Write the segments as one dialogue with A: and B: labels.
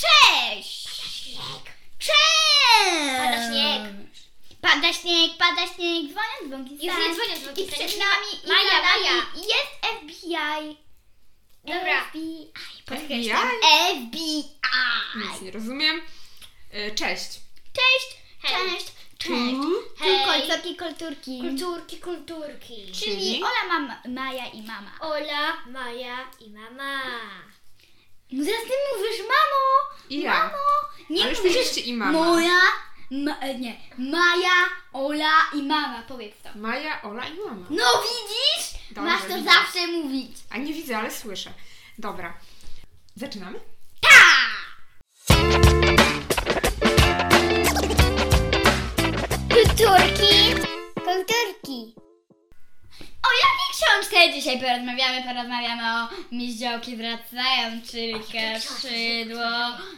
A: Tak.
B: Banki
A: Już
B: Stan.
A: nie dzwonią z Banki
B: tak. I
A: Stan.
B: przed
A: Już
B: nami
A: ma- Maja, Maja.
B: I Jest FBI.
A: Dobra. Tak
B: FBI.
C: FBI?
B: FBI.
C: Tak, Nic nie rozumiem. E, Cześć.
B: Cześć.
A: Hej.
B: Cześć. Cześć.
C: Tu
B: Tu
A: Hej.
B: kolcorki, kolturki.
A: Kulturki, kulturki.
B: Czyli
C: Czyli?
B: Ola, mama, Maja i mama.
A: Ola, Maja i mama.
B: No zaraz ty mówisz mamo.
C: I ja.
B: Mamo. Nie
C: Ale już
B: mówisz
C: mówiliście i mama.
B: Moja. Ma, e, nie. Maja, Ola i mama. Powiedz to.
C: Maja, Ola i mama.
B: No widzisz?
C: Dobrze,
B: Masz to
C: widzę.
B: zawsze mówić.
C: A nie widzę, ale słyszę. Dobra. Zaczynamy?
B: Kulturki. Kulturki. O jakiej książce dzisiaj porozmawiamy? Porozmawiamy o Miździołki wracają, czyli kaszydło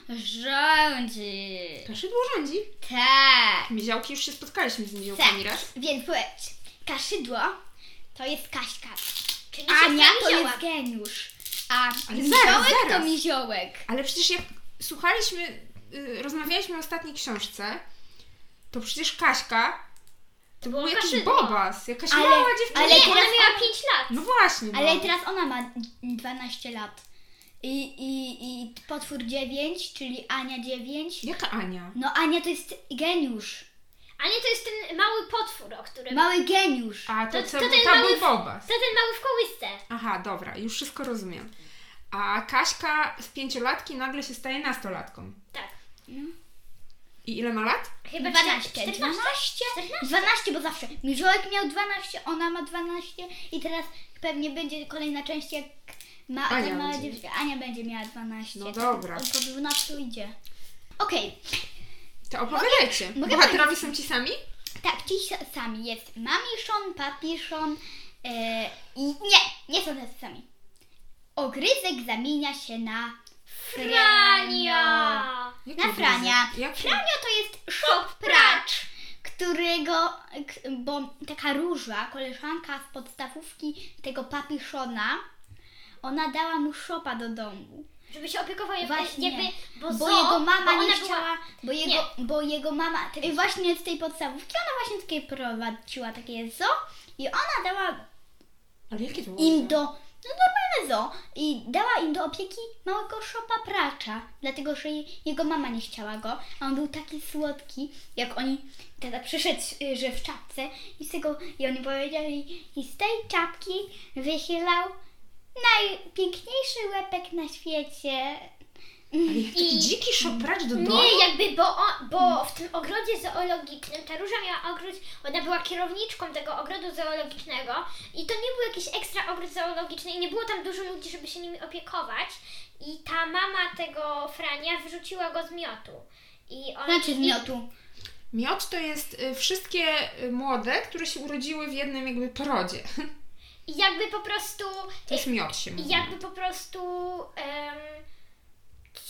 B: rządzi.
C: Kaszydło rządzi.
B: Tak.
C: Miziołki, już się spotkaliśmy z miziołkami raz.
B: Więc powiedz, kaszydło to jest Kaśka.
A: Czyli
B: Ania
A: siostra
B: to
A: wzięła.
B: jest geniusz. A
C: Ale zaraz,
B: Miziołek to
C: zaraz.
B: Miziołek.
C: Ale przecież jak słuchaliśmy, y, rozmawialiśmy o ostatniej książce, to przecież Kaśka to był
A: było
C: jakiś
A: kaszydło.
C: bobas, jakaś
B: Ale-
C: mała dziewczyna.
B: Ale
A: nie,
B: teraz
A: ona
B: ona-
A: miała 5 lat.
C: No właśnie. No.
B: Ale teraz ona ma 12 lat. I, i, I potwór 9, czyli Ania 9.
C: Jaka Ania?
B: No Ania to jest geniusz.
A: Ania to jest ten mały potwór, o którym...
B: Mały geniusz.
C: A to,
A: To-
C: co,
A: to
C: to,
A: ten mały
C: był
A: w-
C: bobas.
A: To ten mały w kołysce.
C: Aha, dobra, już wszystko rozumiem. A Kaśka z pięciolatki nagle się staje nastolatką.
A: Tak.
C: I ile ma lat?
A: Chyba
B: 12,
A: 14.
B: 12, 12, bo zawsze Miżołek miał 12, ona ma 12 i teraz pewnie będzie kolejna część jak ma
C: Ania
B: ta mała
C: będzie.
B: dziewczyna. Ania będzie miała 12.
C: No
B: to
C: dobra.
B: Po 12 idzie. Okej,
C: To opowiadajcie.
B: mogę
C: Bohaterowie są ci sami?
B: tak, ci s- sami jest mamiszon, papiszon e, i nie, nie są tacy sami. Ogryzek zamienia się na Frania.
A: Frania.
C: Jaki
B: Na Frania.
C: obrazek? Jaki?
B: Franio to jest szop pracz, którego, k- bo taka róża, koleżanka z podstawówki tego papiszona, ona dała mu szopa do domu.
A: Żeby się opiekował jakby,
B: Właśnie,
A: jakby bo,
B: bo,
A: zo,
B: jego mama
A: bo
B: nie
A: ona
B: chciała,
A: była...
B: bo, jego, bo jego mama, te- właśnie z tej podstawówki, ona właśnie takie prowadziła takie zo i ona dała
C: Ale jakie to
B: im do, no normalne zo, i dała im do opieki małego szopa pracza, dlatego że je- jego mama nie chciała go, a on był taki słodki, jak oni, tata przyszedł, y, że w czapce i z tego, i oni powiedzieli, i z tej czapki wychylał najpiękniejszy łepek na świecie.
C: Ale jak taki
A: I-
C: dziki szopracz do domu?
A: Nie,
B: No.
A: jakby, bo, o, bo w tym ogrodzie zoologicznym ta róża miała ogród, ona była kierowniczką tego ogrodu zoologicznego i to nie był jakiś ekstra ogród zoologiczny i nie było tam dużo ludzi, żeby się nimi opiekować i ta mama tego Frania wyrzuciła go z miotu. I on,
B: Znaczy z
A: i-
B: miotu.
C: Miod to jest y, wszystkie y, młode, które się urodziły w jednym jakby porodzie.
A: I jakby po prostu...
C: To jest miod się
A: I
C: mówi.
A: jakby po prostu em,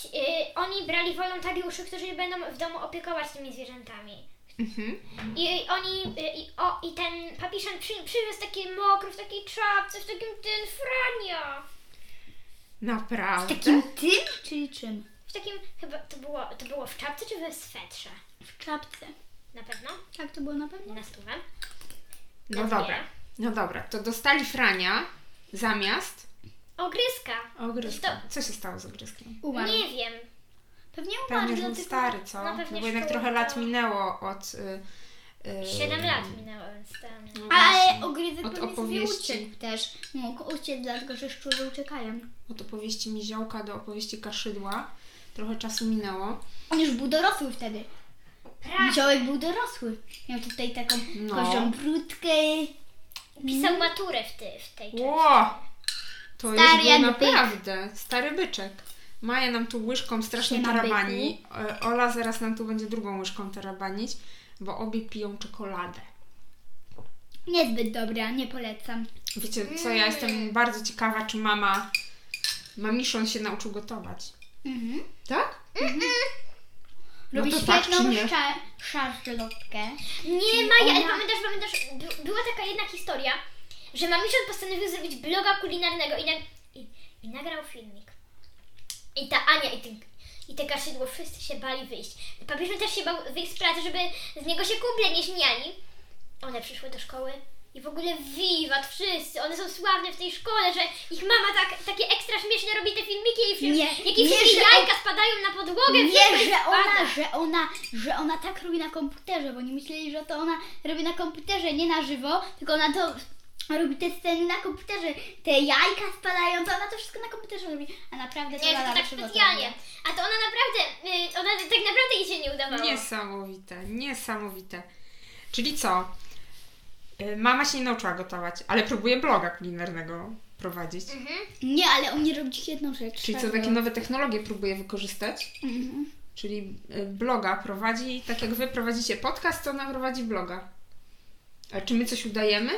A: ci- y, oni brali wolontariuszy, którzy będą w domu opiekować tymi zwierzętami.
C: Mhm.
A: I oni, y, i, o, i ten papiszon przy, przywiózł taki mokry, w takiej czapce, w takim ten frania.
C: Naprawdę?
B: Takim tym, czyli czym?
A: W takim, chyba to było, to było w czapce czy we swetrze?
B: W czapce.
A: Na pewno?
B: Tak to było na pewno?
A: Na stówę?
C: No
A: Nie.
C: dobra. No dobra, to dostali Frania zamiast
A: Ogryska.
C: ogryzka. Co się stało z ogryzkiem?
B: Umarł.
A: Nie wiem.
B: Pewnie umarł,
C: Pewnie już był
B: dlatego...
C: stary, co?
A: no
C: No,
A: pewnie
C: bo jednak
A: szkoła
C: trochę lat
A: to-
C: minęło od... Y, y,
A: 7 lat minęło, więc tam.
C: no właśnie,
B: Ale ogryzek
C: Od
B: pewnie sobie
C: opowieści.
B: uciekł też. Mógł uciec, dlatego że szczury uciekają.
C: Od opowieści Miziołka do opowieści Kaszydła. Trochę czasu minęło.
B: On już był dorosły wtedy.
A: Pra-
B: Miziołek był dorosły. Miał tutaj taką
C: No.
B: kozią brudkę.
A: pisał maturę w, ty, w tej
C: Ło! To
B: Stary
C: już
B: jak
C: był
B: byk.
C: naprawdę stary byczek. Maja nam tu łyżką strasznie
B: Siema,
C: tarabani. E, Ola zaraz nam tu będzie drugą łyżką tarabanić, bo obie piją czekoladę.
B: Niezbyt dobra, nie polecam.
C: Wiecie co, ja
B: Mm.
C: jestem bardzo ciekawa, czy mama, mamiszon się nauczył gotować.
B: Mhm.
C: Tak? No
B: Robi
C: to tak,
B: świetną
C: czy nie?
B: sza- szarlotkę.
A: Nie,
B: Czyli
A: Maja, ale
B: ona-
A: pamiętasz, pamiętasz, by, była taka jedna historia, że mamiszon postanowił zrobić bloga kulinarnego i, nag, i, i nagrał filmik. I ta Ania i ten, i te kaszydło, wszyscy się bali wyjść. Papieżon też się bał wyjść z pracy, żeby z niego się kumple nie śmiali. One przyszły do szkoły i w ogóle wiwat wszyscy, one są sławne w tej szkole, że ich mama tak, takie ekstra śmieszne robi te filmiki i film,
B: Nie,
A: jakie
B: nie,
A: wszystkie
B: że
A: jajka spadają na podłogę. wszystko
B: Nie,
A: im
B: że ona,
A: spada.
B: że ona, że ona tak robi na komputerze, bo oni myśleli, że to ona robi na komputerze, nie na żywo, tylko ona to robi te sceny na komputerze, te jajka spadają, to ona to wszystko na komputerze robi, a naprawdę to
A: Nie, że
B: ona
A: to
B: na
A: tak
B: żywo to
A: specjalnie.
B: robi.
A: A to ona naprawdę, y, ona tak naprawdę jej się nie udawało.
C: Niesamowite, niesamowite. Czyli co? Y, Mama się nie nauczyła gotować, ale próbuje bloga kulinarnego prowadzić.
B: Nie, ale umie robić jedną rzecz.
C: Czyli co,
B: tak,
C: takie
B: no.
C: nowe technologie próbuje wykorzystać?
B: Mhm.
C: Czyli y, bloga prowadzi, tak jak wy prowadzicie podcast, to ona prowadzi bloga. A czy my coś udajemy?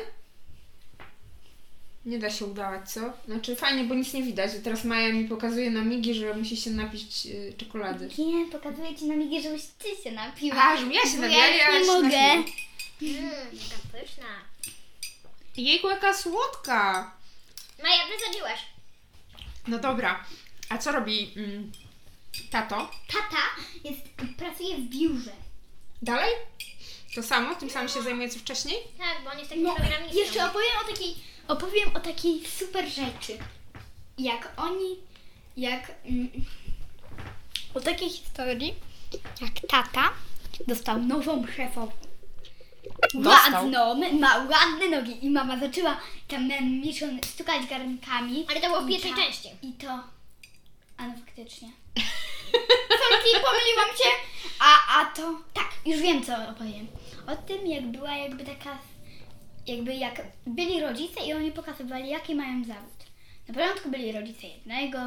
C: Nie da się udawać, co? Znaczy fajnie, bo nic nie widać. Teraz Maja mi pokazuje na migi, że musi się napić y, czekolady.
B: Nie, pokazuję Ci na migi, żebyś Ty się napiła.
C: A, żebym ja się
B: Bo
C: napiła,
B: ja już
C: ja
B: nie
C: się napiję.
B: mogę.
A: Mm, taka pyszna.
C: Jejku, jaka słodka!
A: Maja, wysadziłaś.
C: No dobra, a co robi mm, tato?
B: Tata jest, pracuje w biurze.
C: Dalej? To samo? Tym samym się zajmuje co wcześniej?
A: Tak, bo on jest takim
B: No,
A: programistą.
B: jeszcze opowiem o takiej, opowiem o takiej super rzeczy. Jak oni, jak mm, o takiej historii, jak tata dostał nową szefową.
C: Dostał.
B: Ładną, ma ładne nogi i mama zaczęła tam miszon stukać garnkami.
A: Ale to było w
B: I
A: pierwszej
B: ta-
A: części.
B: I to, a no faktycznie. Sorki, pomyliłam się. A, a to, tak, już wiem co opowiem. O tym jak była jakby taka jakby jak byli rodzice i oni pokazywali, jaki mają zawód. Na początku byli rodzice jednego,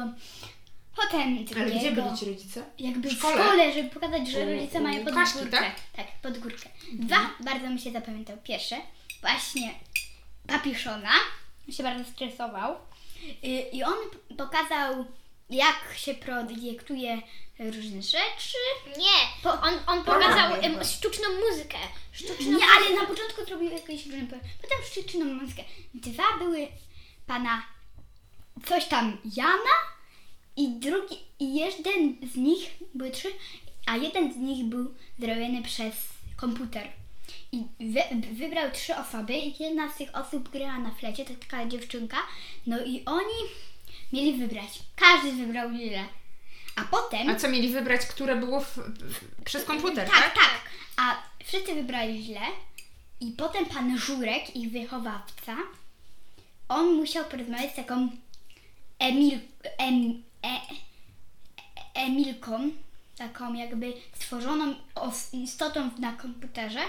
B: potem drugiego.
C: Ale gdzie byli ci rodzice?
B: Jakby
C: W
B: w
C: szkole?
B: szkole, żeby pokazać, że
C: U-
B: rodzice
C: u
B: mają pod
C: Łukaszki,
B: górkę.
C: tak? Mhm.
B: tak, pod górkę. Dwa, bardzo mi się zapamiętał. Pierwsze, właśnie papiszona, on się bardzo stresował. Y, I on p- pokazał, jak się projektuje różne rzeczy.
A: Nie,
B: Po-
A: on, on
C: Program
A: pokazał
C: jakby.
A: em, sztuczną muzykę. Sztuczną
B: Nie, ale na początku zrobił jakieś różne, po- potem szczyczyną muzykę. Dwa były pana coś tam Jana i drugi, i jeden z nich, były trzy, a jeden z nich był zrobiony przez komputer. I wy, wybrał trzy osoby i jedna z tych osób grała na flecie, to taka dziewczynka. No i oni mieli wybrać. Każdy wybrał ile. A potem...
C: A co mieli wybrać, które było w, w, przez komputer, tak?
B: Tak, tak. A wszyscy wybrali źle i potem pan Żurek, ich wychowawca, on musiał porozmawiać z taką Emil, em, e, e, Emilką, taką jakby stworzoną os- istotą na komputerze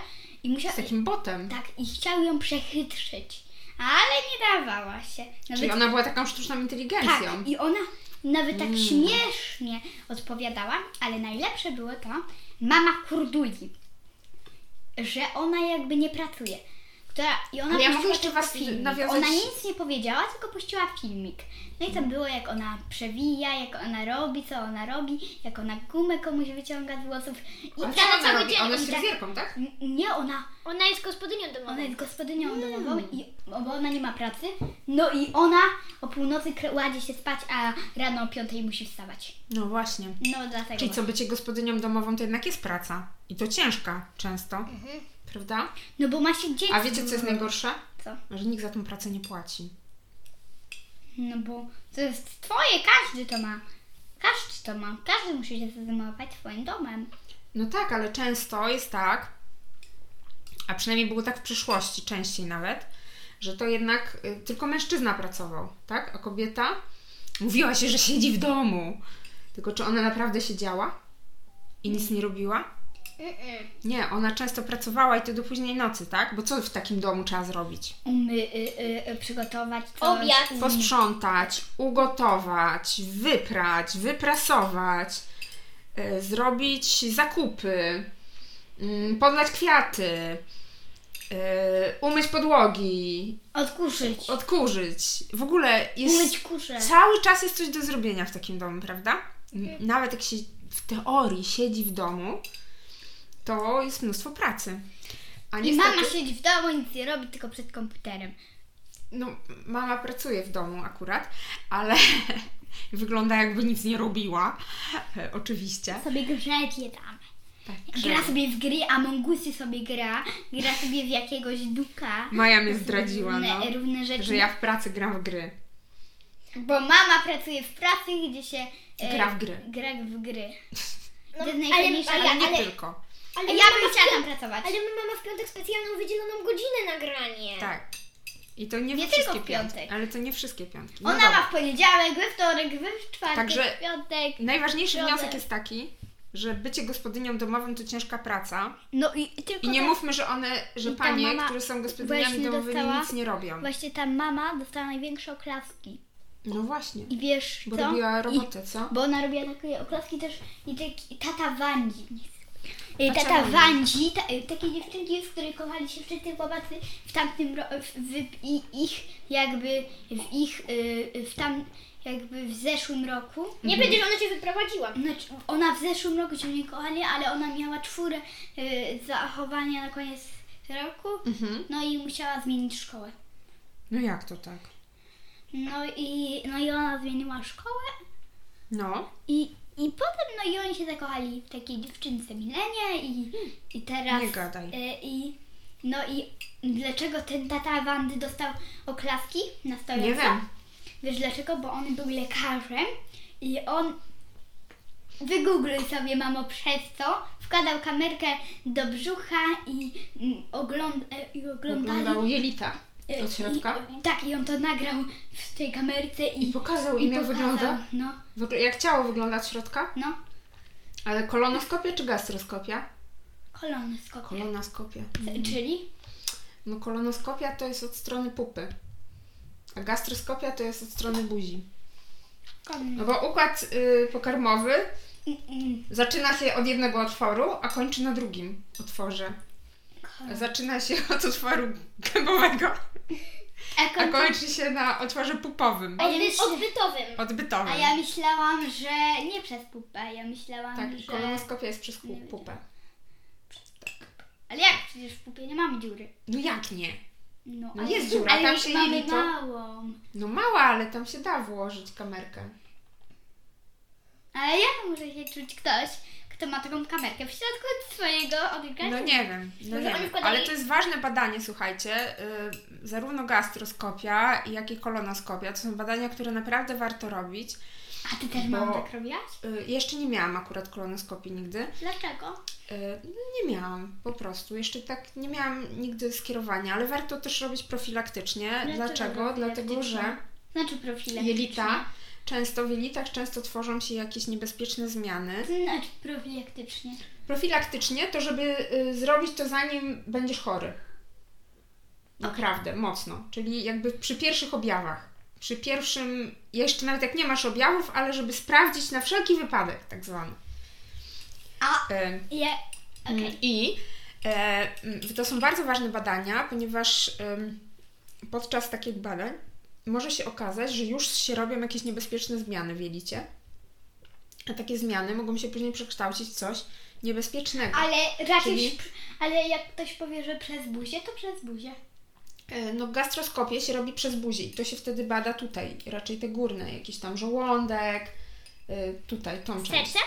B: i musiał...
C: Z takim botem.
B: Tak, i chciał ją przechytrzyć, ale nie dawała się.
C: Czyli
B: Nawet
C: ona była taką sztuczną
B: tak,
C: inteligencją.
B: i ona nawet
C: Mm.
B: tak śmiesznie odpowiadała, ale najlepsze było to mama kurduli, że ona jakby nie pracuje. Która, i ona
C: Ale ja mogę
B: puściła
C: jeszcze
B: tylko
C: was
B: filmik.
C: nawiązać-
B: Ona nic nie powiedziała, tylko puściła filmik. No i tam było, jak ona przewija, jak ona robi, co ona robi, jak ona gumę komuś wyciąga z włosów. I
C: A co
A: tak,
C: ona
A: cały
C: robi?
A: dzień
C: Ona
A: i
C: jest
A: tak-
C: fryzjerką, tak?
B: n- nie, ona
A: Ona jest gospodynią domową.
B: ona jest
C: Mm.
B: gospodynią domową, i, bo ona nie ma pracy. No i ona o północy kra- kładzie się spać, a rano o piątej musi wstawać.
C: No właśnie.
B: No dlatego.
C: Czyli co, bycie gospodynią domową to jednak jest praca. I to ciężka często.
B: Mhm.
C: Prawda?
B: No bo ma się dzieci.
C: A wiecie, co jest najgorsze?
B: Mhm. Co?
C: Że nikt za tą pracę nie płaci.
B: No bo to jest twoje, każdy to ma. Każdy to ma. Każdy musi się zajmować swoim domem.
C: No tak, ale często jest tak, a przynajmniej było tak w przeszłości, częściej nawet, że to jednak y, tylko mężczyzna pracował, tak? A kobieta mówiła się, że siedzi w domu. Tylko czy ona naprawdę siedziała i nic nie robiła?
A: Mm-mm.
C: Nie, ona często pracowała i to do późnej nocy, tak? Bo co w takim domu trzeba zrobić?
B: Umy, y, y, y, przygotować coś.
A: Obiad.
B: um-
C: Posprzątać, ugotować, wyprać, wyprasować, y, zrobić zakupy, y, podlać kwiaty, y, umyć podłogi,
B: Odkurzyć.
C: odkurzyć. W ogóle jest
B: Umyć kurze.
C: cały czas jest coś do zrobienia w takim domu, prawda?
B: Tak.
C: N- Nawet jak się w teorii siedzi w domu, to jest mnóstwo pracy. A
B: I mama siedzi w domu, nic nie robi, tylko przed komputerem.
C: No, mama pracuje w domu akurat, ale wygląda jakby nic nie robiła. E, Oczywiście.
B: Sobie grzebie tam.
C: Tak,
B: Gra
C: grzeje.
B: sobie w gry, a mongusy sobie gra, gra sobie w jakiegoś duka.
C: Maja mnie zdradziła, no,
B: Różne, różne rzeczy.
C: że ja w pracy gram w gry.
B: Bo mama pracuje w pracy, gdzie się... e,
C: Gra w gry.
B: Gra w gry. To
A: No,
B: jest
A: ale-
B: najfajniejsza
A: ale-
C: Ale nie
A: ale-
C: tylko.
A: Ale
B: Ja
A: my mamy
B: bym
A: w
B: chciała
A: piątek-
B: tam pracować.
A: Ale my mamy w piątek specjalną wydzieloną godzinę na granie.
C: Tak. I to nie,
B: Nie
C: we
B: tylko
C: wszystkie
B: w piątek.
C: piątki. Ale to nie wszystkie piątki. No
B: Ona
C: dobra.
B: ma w poniedziałek, we wtorek, we czwartek,
C: Także-
B: w piątek.
C: Najważniejszy
B: Środę.
C: wniosek jest taki, że bycie gospodynią domową to ciężka praca.
B: No i tylko
C: I nie
A: tak.
B: ta-
C: mówmy, że one, że
B: I ta
C: panie,
B: mama
C: które są gospodyniami
B: właśnie
C: domowymi
B: dostała-
C: nic nie robią.
B: Właśnie ta mama dostała największe oklaski.
C: No właśnie.
B: I wiesz
C: Bo
B: co?
C: robiła
B: I-
C: robotę, co?
B: Bo ona robiła takie oklaski też i taki tata Wandzi. nie-
C: A
B: Tata
C: czemu nie?
B: Wandzi, ta, takie dziewczynki, z której kochali się wszyscy chłopacy w tamtym ro- w, w, i, ich jakby w ich y, w tam jakby w zeszłym roku.
A: Nie będzie, że ona cię wyprowadziła.
B: Znaczy, ona w zeszłym roku się nie kochali, ale ona miała czwórę y, zachowania na koniec roku.
C: Mhm.
B: No i musiała zmienić szkołę.
C: No jak to tak?
B: No i, no i ona zmieniła szkołę
C: No.
B: i, i potem no i oni się zakochali w takiej dziewczynce Milenie i, i teraz...
C: Nie gadaj.
B: Y, i, no i dlaczego ten tata Wandy dostał oklaski na stojąco?
C: Nie wiem.
B: Wiesz dlaczego? Bo on był lekarzem i on wygoogluj sobie mamo przez co wkładał kamerkę do brzucha i, mm, ogląd- e, i oglądali
C: Oglądał jelita
B: e,
C: od środka.
B: I, tak i on to nagrał w tej kamerce i,
C: I pokazał im, jak
B: pokazał.
C: wygląda.
B: No,
C: Wygl- Jak ciało wygląda od środka?
B: no,
C: Ale kolonoskopia czy gastroskopia?
B: kolony skoku.
C: Kolonoskopia.
B: Czyli?
C: No kolonoskopia to jest od strony pupy. A gastroskopia to jest od strony buzi. No bo układ y, pokarmowy
B: Mm, mm,
C: zaczyna się od jednego otworu, a kończy na drugim otworze.
B: kolon-
C: Zaczyna się od otworu gębowego, a
B: Ekon-
C: kończy się na otworze pupowym,
B: A ja
A: Odby-
B: myślę-
A: Odbytowym.
C: odbytowym.
B: A ja myślałam, że nie przez pupę, ja myślałam,
C: Tak,
B: że...
C: kolonoskopia jest przez
B: Nie
C: pu-
B: wiem.
C: pupę.
B: Ale jak? Przecież w pupie nie mamy dziury.
C: No jak nie?
B: No,
C: No
B: ale-
C: jest dziura,
B: ale
C: tam
B: już
C: się
B: mamy
C: jelito-
B: małą.
C: No mała, ale tam się da włożyć kamerkę.
B: Ale jak może się czuć ktoś, kto ma taką kamerkę w środku swojego
C: No
B: organizmu?
C: nie wiem, no
A: Może
C: nie
A: oni
C: wiem.
A: wkładali-
C: ale to jest ważne badanie, słuchajcie. y, Zarówno gastroskopia, jak i kolonoskopia to są badania, które naprawdę warto robić.
B: A ty też
C: Bo-
B: mamo tak robiłaś?
C: Y, Jeszcze nie miałam akurat kolonoskopii nigdy.
B: Dlaczego?
C: E, No nie miałam po prostu. Jeszcze tak nie miałam nigdy skierowania, ale warto też robić profilaktycznie.
B: Dlaczego
C: Dlaczego? Dlatego,
B: profilaktycznie?
C: że
B: Znaczy profile.
C: jelita często w jelitach często tworzą się jakieś niebezpieczne zmiany.
B: Znaczy profilaktycznie.
C: Profilaktycznie to, żeby y, zrobić to zanim będziesz chory. Naprawdę, mocno. Czyli jakby przy pierwszych objawach. Przy pierwszym, jeszcze nawet jak nie masz objawów, ale żeby sprawdzić na wszelki wypadek, tak zwany.
B: A-
C: Em,
B: Je...
C: Mm.
B: Okej.
C: I e, m, to są bardzo ważne badania, ponieważ em, podczas takich badań może się okazać, że już się robią jakieś niebezpieczne zmiany w jelicie. A takie zmiany mogą się później przekształcić w coś niebezpiecznego.
B: Ale raczej...
C: Czyli-
B: Ale jak ktoś powie, że przez buzię, to przez buzię.
C: E, No, gastroskopię się robi przez buzię i to się wtedy bada tutaj, raczej te górne, jakiś tam żołądek, y, tutaj, tą część.
A: Serce?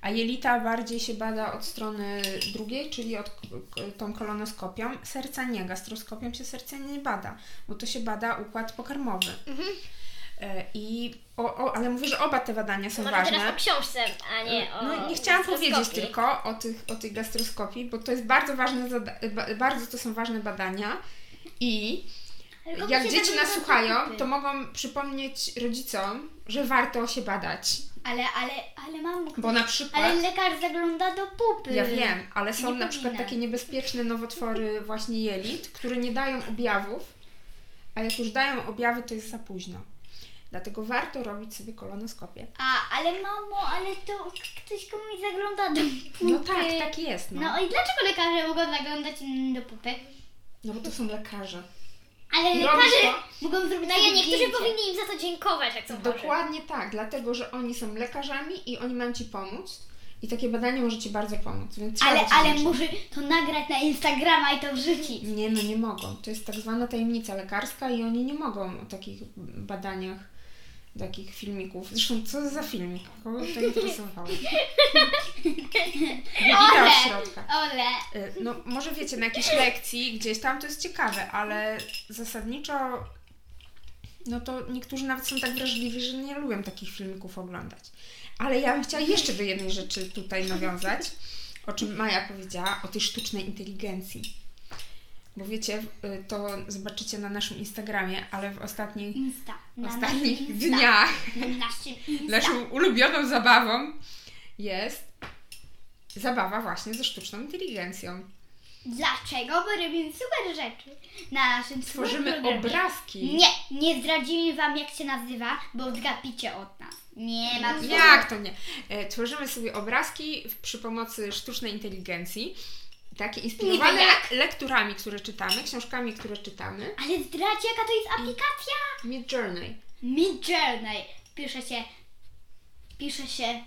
C: A jelita bardziej się bada od strony drugiej, czyli od k- k- tą kolonoskopią. Serca nie, gastroskopią się serca nie bada, bo to się bada układ pokarmowy.
A: Mhm.
C: E, I, o, o, ale mówię, że oba te badania są
A: Może
C: ważne.
A: teraz o książce, a nie o
C: No, nie chciałam
A: gastroskopii.
C: powiedzieć tylko o, tych, o tej gastroskopii, bo to jest bardzo ważne, zada- ba- bardzo to są ważne badania i
B: Ale komu
C: jak
B: się
C: dzieci
B: daje
C: nas
B: do
C: słuchają,
B: kupy?
C: to mogą przypomnieć rodzicom, że warto się badać,
B: Ale, ale, ale mamo...
C: bo na przykład...
B: Ale lekarz zagląda do pupy.
C: Ja wiem, ale są
B: Y, Nie
C: na przykład
B: powinna.
C: takie niebezpieczne nowotwory właśnie jelit, które nie dają objawów, a jak już dają objawy, to jest za późno. Dlatego warto robić sobie kolonoskopię.
B: A, ale mamo, ale to k- ktoś komuś zagląda do pupy.
C: No tak, tak jest. No,
B: No i dlaczego lekarze mogą zaglądać innym do pupy?
C: no bo to są lekarze.
B: Ale
C: Robisz
B: lekarze
C: to?
B: mogą zrobić
A: No
B: sobie
A: ja niektórzy
B: zdjęcie.
A: powinni im za to dziękować, jak są chorzy.
C: Dokładnie tak, dlatego że oni są lekarzami i oni mają ci pomóc. I takie badanie może ci bardzo pomóc. Więc trzeba
B: Ale,
C: być
B: ale
C: wdzięcznym.
B: muszę to nagrać na Instagrama i to wrzucić.
C: Nie, no nie mogą. To jest tak zwana tajemnica lekarska i oni nie mogą o takich badaniach, takich filmików. Zresztą co za filmik? Kogo to interesowało? Wybita od środka.
B: Ole.
C: Y, No, może wiecie, na jakiejś lekcji gdzieś tam to jest ciekawe, ale zasadniczo no to niektórzy nawet są tak wrażliwi, że nie lubią takich filmików oglądać. Ale ja bym chciała jeszcze do jednej rzeczy tutaj nawiązać, o czym Maja powiedziała, o tej sztucznej inteligencji. Bo wiecie, y, to zobaczycie na naszym Instagramie, ale w ostatnich,
B: Insta. Na
C: ostatnich
B: naszym Insta.
C: dniach
B: Na naszym Insta.
C: naszą ulubioną zabawą jest zabawa właśnie ze sztuczną inteligencją.
B: Dlaczego? Bo robimy super rzeczy. Na naszym super
C: Tworzymy
B: programie.
C: obrazki.
B: No Nie, nie zdradzimy wam jak się nazywa, bo odgapicie od nas. Nie ma czasu.
C: Jak to nie? E, Tworzymy sobie obrazki w- przy pomocy sztucznej inteligencji, takie inspirowane lekturami, które czytamy, książkami, które czytamy.
B: Ale zdradź jaka to jest aplikacja?
C: Mid Journey.
B: Midjourney. Pisze się. Pisze się.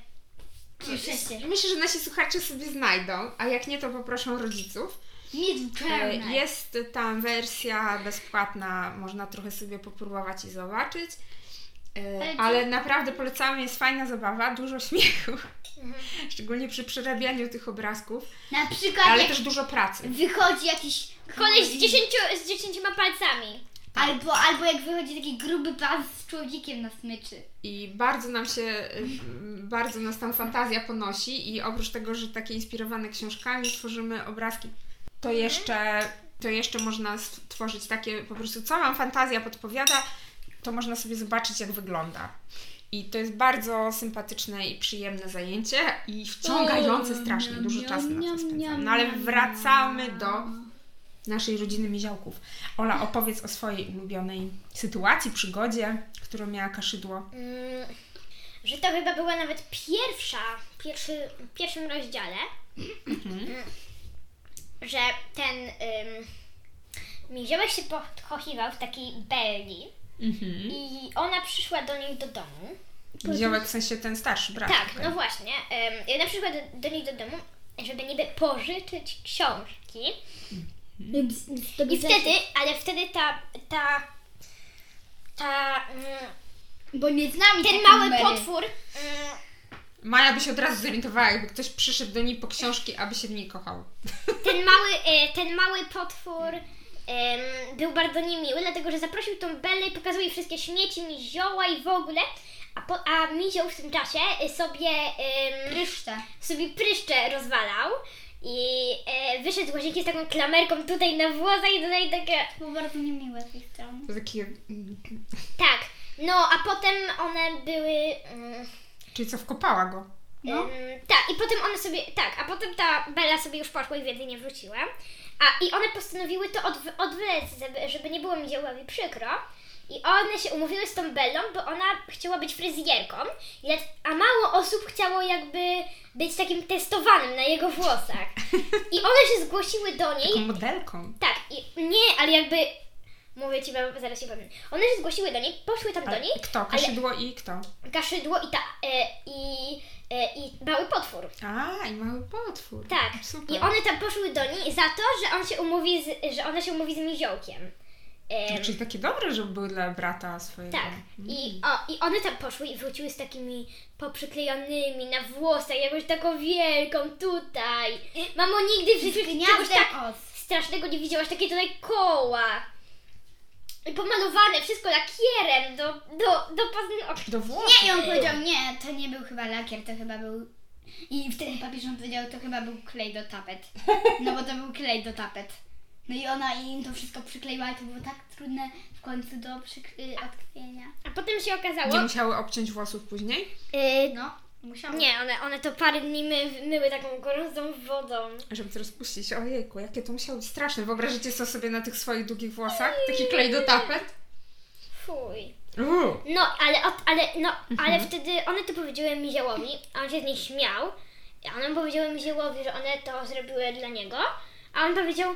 B: Pisze się.
C: Myślę, że nasi słuchacze sobie znajdą, a jak nie, to poproszą rodziców. E,
B: Midjourney.
C: Jest tam wersja bezpłatna, można trochę sobie popróbować i zobaczyć. E,
B: Ale czy-
C: Ale naprawdę polecamy, jest fajna zabawa, dużo śmiechu.
B: Mhm.
C: Szczególnie przy przerabianiu tych obrazków,
B: Na przykład
C: ale
B: Tak, jak
C: też dużo pracy.
B: wychodzi jakiś.
A: Koleś z, dziesięciu, z dziesięcioma palcami.
B: Albo, albo jak wychodzi taki gruby pan z człowiekiem na smyczy.
C: I bardzo nam się, y, bardzo nas tam fantazja ponosi i oprócz tego, że takie inspirowane książkami tworzymy obrazki, to jeszcze, to jeszcze można stworzyć takie, po prostu co Wam fantazja podpowiada, to można sobie zobaczyć jak wygląda. I to jest bardzo sympatyczne i przyjemne zajęcie i wciągające strasznie, dużo czasu na to spędzam. No ale wracamy do naszej rodziny Miziołków. Ola, opowiedz o swojej ulubionej sytuacji, przygodzie, którą miała Kaszydło.
A: Mm, że to chyba była nawet pierwsza, pierwszy, w pierwszym rozdziale, Mm, że ten ym, Miziołek się pochochiwał w takiej belli
C: Mhm.
A: i ona przyszła do nich do domu.
C: Ziołek w sensie ten starszy brat.
A: Tak,
C: okej.
A: no właśnie. Ym, i ona przyszła do, do nich do domu, żeby niby pożyczyć książki. I wtedy, ale wtedy ta, ta, ta, mm,
B: Bo nie znamy
A: ten
B: takich
A: mały
B: numerów.
A: potwór mm,
C: Maja by się od razu zorientowała, jakby ktoś przyszedł do niej po książki, aby się w niej kochał.
A: Ten mały, e, ten mały potwór em, był bardzo niemiły, dlatego że zaprosił tą Bellę i pokazał jej wszystkie śmieci, mi zioła i w ogóle. A, po, a Mizioł w tym czasie e, sobie, em,
B: Pryszcze.
A: sobie pryszcze rozwalał i e, wyszedł z łazienki z taką klamerką tutaj na włosach i tutaj takie...
B: Było bardzo niemiłe z tej strony.
C: To takie... mm,
A: Tak, no a potem one były... Mm,
C: Czyli co, wkopała go.
B: No.
A: Ym, tak, i potem one sobie, tak, a potem ta Bella sobie już poszła i więcej nie wróciła. A i one postanowiły to odw- odwlec, żeby, żeby nie było mi ziołowi przykro. I one się umówiły z tą Bellą, bo ona chciała być fryzjerką, i lat- a mało osób chciało jakby być takim testowanym na jego włosach. I one się zgłosiły do niej
C: Taką modelką.
A: tak, i nie, ale jakby. Mówię ci, bo zaraz się powiem. One się zgłosiły do niej, poszły tam do
C: Ale
A: niej.
C: kto? Kaszydło i kto?
A: Gaszydło i ta. E, i, e, I mały potwór.
C: A, i mały potwór.
A: Tak.
C: Super.
A: I one tam poszły do niej za to, że on się umówi z, że ona się umówi z Miziołkiem. Em,
C: Tak, Czyli takie dobre, żeby były dla brata swojego. Mhm.
A: tak.
C: no.
A: I, o, I one tam poszły i wróciły z takimi poprzyklejonymi na włosach, jakąś taką wielką tutaj. Mamo, nigdy
B: Z
A: wszystkich czegoś
B: gniazdem
A: tak
B: os.
A: strasznego nie widziałaś, takie tutaj koła. I pomalowane wszystko lakierem do, do, do paznokci.
C: Do włosów.
B: Nie, i on powiedział, nie, to nie był chyba lakier, to chyba był... I wtedy papież on powiedział, to chyba był klej do tapet. No bo to był klej do tapet. No i ona im to wszystko przykleiła i to było tak trudne w końcu do przyk- y, odklejenia.
A: A potem się okazało...
C: Nie musiały obciąć włosów później,
A: Y,
B: No, musiałam.
A: nie, one, one to parę dni my, myły taką gorącą wodą.
C: żeby to rozpuścić. Ojejku, jakie to musiało być straszne. Wyobraźcie co sobie na tych swoich długich włosach? Taki klej do tapet?
A: Fuj.
C: Uuu.
A: No, ale, od, ale, no,
C: Mhm.
A: ale wtedy one to powiedziały Miziołowi, a on się z nich śmiał. A one powiedziały Miziołowi, że one to zrobiły dla niego. A on powiedział, "E,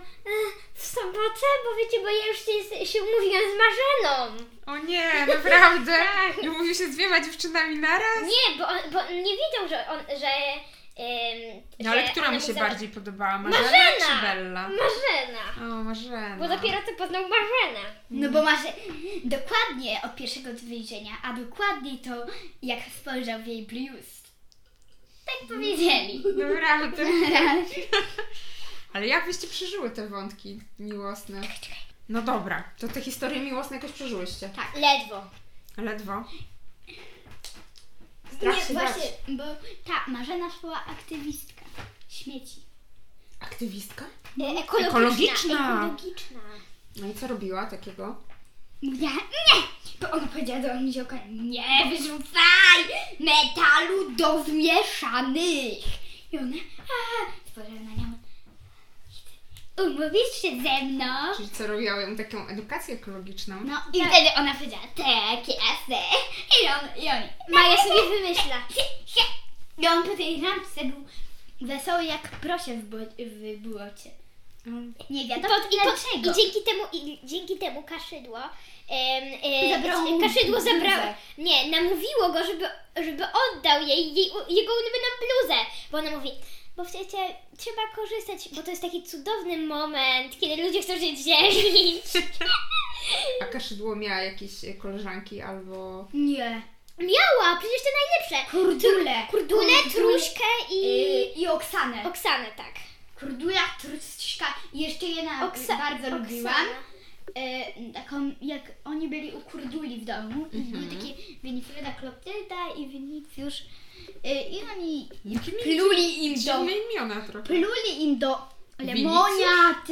A: w sobotę, bo wiecie, bo ja już się, się umówiłem z Marzeną.
C: O nie, naprawdę?
A: Tak.
C: I mówił się z dwiema dziewczynami naraz?
A: Nie, bo on, bo on nie wiedział, że on, że... ym,
C: No ale
A: że
C: która
A: ona
C: mu się
A: za-
C: bardziej podobała? Marzena,
A: Marzena!
C: czy Bella?
A: Marzena.
C: O, Marzena.
A: Bo dopiero co poznał Marzenę.
B: No bo masz dokładnie od pierwszego wyjrzenia, a dokładniej to jak spojrzał w jej bluz. Tak powiedzieli.
C: Naprawdę.
B: Raz.
C: Ale jak byście przeżyły te wątki miłosne? No dobra, to te historie miłosne jakoś przeżyłyście.
A: Tak. Ledwo.
C: Ledwo. Strach
A: Nie,
C: się
A: właśnie.
C: bać.
B: Bo ta Marzena była aktywistka. Śmieci.
C: Aktywistka?
A: e,
B: No,
A: Ekologiczna.
C: Ekologiczna.
A: ekologiczna.
C: No i co robiła takiego?
B: Ja nie! Bo ona powiedziała do niziołka, nie wyrzucaj metalu do zmieszanych. I ona, a, spojrzała na nią. Umówisz się ze mną?
C: Czyli co robiła ją taką edukację ekologiczną?
B: No i wtedy ona powiedziała, tak, jasne. I on, i on,
A: Maja sobie wymyśla.
B: I on po tej lampce był wesoły jak prosie w, bo- w błocie.
C: Mm.
B: Nie
A: I,
B: wiadomo
A: pod, i, pod,
B: dlaczego.
A: I dzięki temu, i dzięki temu kaszydło. em, e,
B: Zabrało
A: znaczy,
B: mu
A: kaszydło
B: bluzę.
A: zabrało. Nie, namówiło go, żeby, żeby oddał jej, jej jego ulubioną bluzę. Bo ona mówi, bo przecież trzeba korzystać, bo to jest taki cudowny moment, kiedy ludzie chcą się dzielić.
C: A kaszydło miała jakieś e, koleżanki albo...
B: Nie.
A: Miała, przecież to najlepsze.
B: Kurdule.
A: Kurdule, truśkę i
B: Yy, I Oksanę.
A: Oksanę, tak.
B: Kurdula, truszczka i jeszcze jedna
A: Oksa-
B: tak, bardzo
A: Oksana.
B: lubiłam. E, taką, jak oni byli u kurduli w domu i były takie Winifreda Klotylda i Winicjusz e, i oni
C: Jakimi
B: pluli im do,
C: dziwne imiona trochę.
B: pluli im do lemoniad.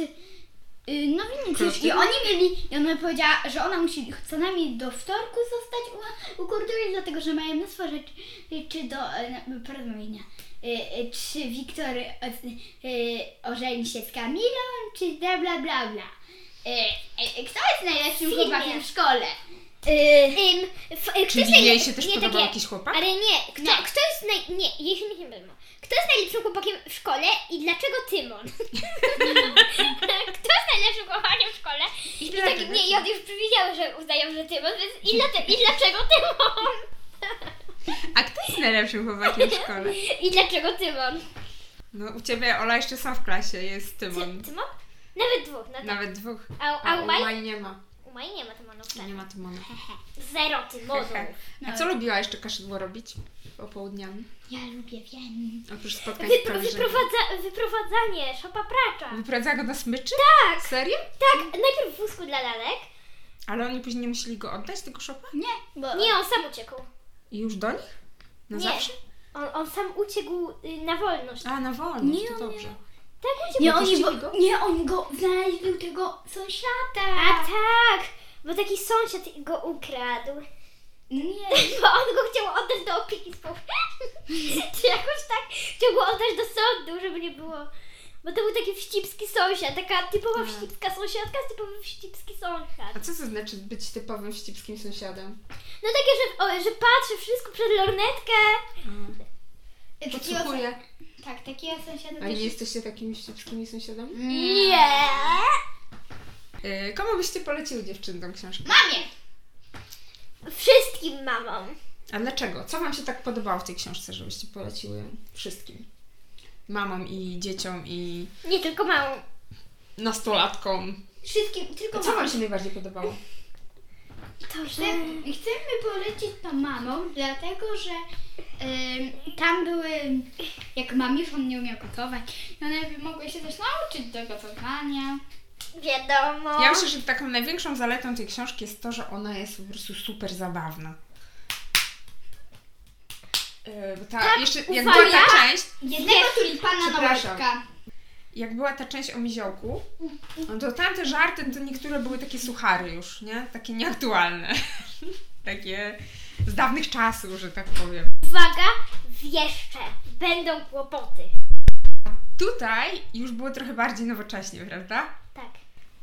B: Y, No Winicjusz i
C: Klotylda?
B: oni mieli, i ona powiedziała, że ona musi co najmniej do wtorku zostać u, u kurduli, dlatego że mają mnóstwo rzeczy rzeczy do e, na- porozumienia. Y, y, Czy Wiktor y, y, ożeni się z Kamilą, czy bla bla bla bla. Y, y, Kto jest najlepszym
A: Sylwia.
B: chłopakiem w szkole?
A: Ym, f, y, kto
C: Czyli
A: jest najle-
C: jej się też
A: nie,
C: podobał
A: takie-
C: jakiś chłopak?
A: Ale nie, kto,
B: Nie.
A: kto jest naj... Nie, jej się nikt nie wiadomo. Kto jest najlepszym chłopakiem w szkole i dlaczego Tymon? kto jest najlepszym chłopakiem w szkole? I, tak,
C: dlaczego
A: nie, ja już przewidziałam, że uznają, że Tymon, więc i, dla, i dlaczego Tymon?
C: A kto jest najlepszym chłopakiem w szkole?
A: I dlaczego Tymon?
C: No u Ciebie Ola jeszcze są w klasie, jest Tymon.
A: Ty, Tymon? Nawet dług, no tak.
C: Nawet dwóch.
A: A, a
C: A
A: u
C: u
A: Maj?
C: Maj nie ma.
A: U Maj nie ma Tymonu wcale.
C: Nie ma Tymona. No.
A: Zero Tymonów.
C: Hehe. A co lubiła jeszcze kaszydło robić opołudniami?
B: Ja lubię wiem.
C: Oprócz spotkań z
A: Wypro,
C: koleżankami.
A: wyprowadza, wyprowadzanie, szopa pracza.
C: Wyprowadza go na smyczy? Tak! Serio?
A: Tak, najpierw w wózku dla lalek.
C: Ale oni później musieli go oddać, tego szopa?
B: Nie, bo
A: Nie, on sam uciekł.
C: I już do nich? Na
A: Nie.
C: zawsze?
A: On, on sam uciekł y, na wolność.
C: A, na wolność,
B: Nie,
C: to
B: on nie-
C: dobrze.
A: Tak uciekł.
B: nie, oni,
C: Wypuścili
B: bo,
C: go?
B: nie, oni go znaleźli u tego sąsiada.
A: A tak, bo taki sąsiad go ukradł.
B: No Nie,
A: Bo on go chciał oddać do opieki społecznej. Czy jakoś tak? Chciał go oddać do sądu, żeby nie było. Bo to był taki wścibski sąsiad, taka typowa
C: A.
A: wścibska sąsiadka z typowym wścibski sąsiad.
C: A co to znaczy być typowym wścibskim sąsiadem?
A: No takie, że, o, że patrzy wszystko przed lornetkę.
B: takiego,
C: Podsłuchuję.
B: tak, takiego sąsiada
C: A nie
B: też
C: jesteście takimi wścibskimi sąsiadami?
B: Mm.
A: Nie.
C: Yy, komu byście poleciły dziewczynom książkę?
B: Mamie!
A: Wszystkim mamom.
C: A dlaczego? Co Wam się tak podobało w tej książce, żebyście poleciły ją wszystkim? Mamom i dzieciom i
A: Nie tylko mamom.
C: nastolatkom.
B: Wszystkim, tylko
C: Co
B: mamie.
C: Wam się najbardziej podobało?
A: To, że...
B: Chcemy, chcemy polecić to mamą, dlatego że ym, tam były, jak mamisz, on nie umiał gotować i one mogły się też nauczyć do gotowania.
A: Wiadomo.
C: Ja myślę, że taką największą zaletą tej książki jest to, że ona jest po prostu super zabawna. Yy, bo ta, jeszcze, jak była
A: uwaga.
C: ta część,
B: Jednego tulipana na
C: przepraszam.
B: łóżka.
C: jak była ta część o miziołku, no to tamte żarty, to niektóre były takie suchary już, nie? Takie nieaktualne. takie z dawnych czasów, że tak powiem.
A: Uwaga, wieszcze, będą kłopoty.
C: Tutaj już było trochę bardziej nowocześnie, prawda?
A: Tak.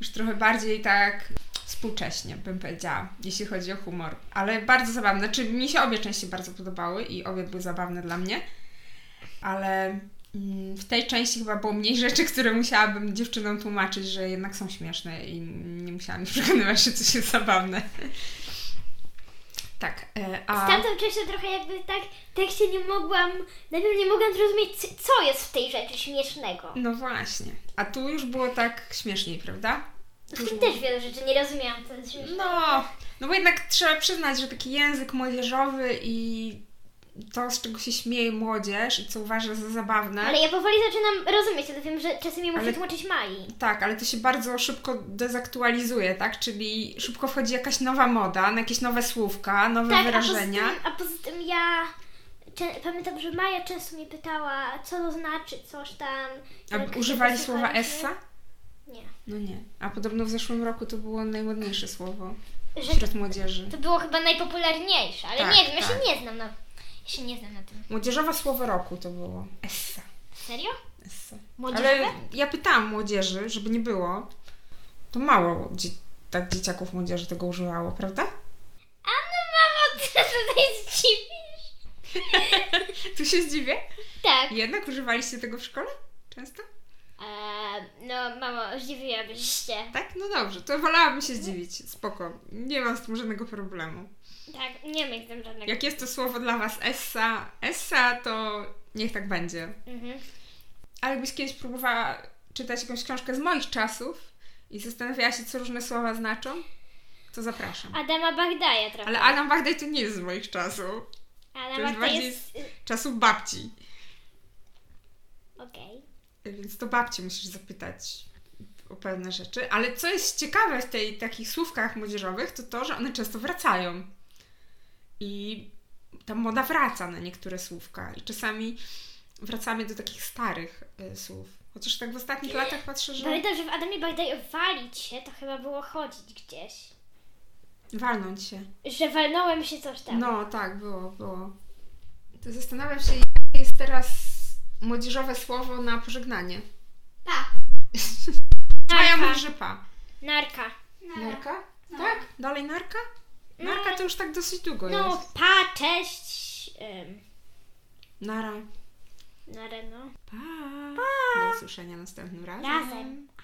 C: Już trochę bardziej tak współcześnie, bym powiedziała, jeśli chodzi o humor. Ale bardzo zabawne. Znaczy, mi się obie części bardzo podobały i obie były zabawne dla mnie. Ale mm, w tej części chyba było mniej rzeczy, które musiałabym dziewczynom tłumaczyć, że jednak są śmieszne i nie musiałam ich przekonywać, że coś jest zabawne. Tak, e,
A: Z
C: a...
A: tamtą częścią trochę jakby tak, tak się nie mogłam, najpierw nie mogłam zrozumieć, c- co jest w tej rzeczy śmiesznego.
C: No właśnie. A tu już było tak śmieszniej, prawda?
A: W
C: Mhm.
A: tym też wiele rzeczy nie rozumiałam, co jest śmieszne.
C: No, no bo jednak trzeba przyznać, że taki język młodzieżowy i to, z czego się śmieje młodzież i co uważa za zabawne.
A: Ale ja powoli zaczynam rozumieć, to wiem, że czasami muszę
C: No. Ale-
A: tłumaczyć Mai.
C: Tak, ale to się bardzo szybko dezaktualizuje, tak? Czyli szybko wchodzi jakaś nowa moda, na jakieś nowe słówka, nowe
A: Tak,
C: wyrażenia.
A: A, poza tym, a poza tym ja czę- pamiętam, że Maja często mnie pytała, co to znaczy, coś tam.
C: A
A: jak
C: używali
A: tak się
C: słowa
A: posłuchaliśmy.
C: essa?
A: Nie.
C: No nie. A podobno w zeszłym roku to było najładniejsze słowo
A: Że
C: wśród młodzieży.
A: To było chyba najpopularniejsze, ale
C: Tak,
A: nie wiem, ja się
C: tak.
A: nie znam na. Ja się nie znam na tym.
C: Młodzieżowe słowo roku to było. Essa.
A: Serio?
C: Essa. Ale
A: Młodzieżowe?
C: ja pytałam młodzieży, żeby nie było, to mało dzie- tak dzieciaków młodzieży tego używało, prawda?
A: A no mamo, ty tutaj zdziwisz.
C: Tu się zdziwię.
A: Tak.
C: Jednak używaliście tego w szkole? Często?
A: Eee, no mamo, zdziwiłabyś się.
C: Tak? No dobrze, to wolałabym się zdziwić. Spoko. Nie mam z tym żadnego problemu.
A: Tak, nie wiem, jak tam żadnego.
C: Jak jest to słowo dla Was essa, essa, to niech tak będzie.
A: Mhm.
C: Ale jakbyś kiedyś próbowała czytać jakąś książkę z moich czasów i zastanawiała się, co różne słowa znaczą, to zapraszam.
A: Adama Bagdaja trochę.
C: Ale Adam Bagdaj to nie jest z moich czasów.
A: Adam
C: to jest
A: Bagdaj
C: bardziej
A: jest... y,
C: Czasów babci.
A: Okej.
C: Więc to babci musisz zapytać o pewne rzeczy. Ale co jest ciekawe w tej takich słówkach młodzieżowych, to to, że one często wracają. I ta moda wraca na niektóre słówka. I czasami wracamy do takich starych y, słów. Chociaż tak w ostatnich latach patrzę, że
A: Pamiętam, że w Adamie Bagdaj walić się to chyba było chodzić gdzieś.
C: walnąć się.
A: Że walnąłem się coś tam.
C: No tak, było, było. To zastanawiam się, jakie jest teraz młodzieżowe słowo na pożegnanie.
B: Pa.
C: Maja
A: Narka.
C: mówi, że pa.
A: Narka.
C: Narka? Tak? Dalej narka? Narka to już tak dosyć długo
A: Mm. No,
C: jest.
A: pa, cześć. Ym,
C: Nara.
A: na reno.
C: Pa. pa. Do usłyszenia następnym razem.
A: Razem.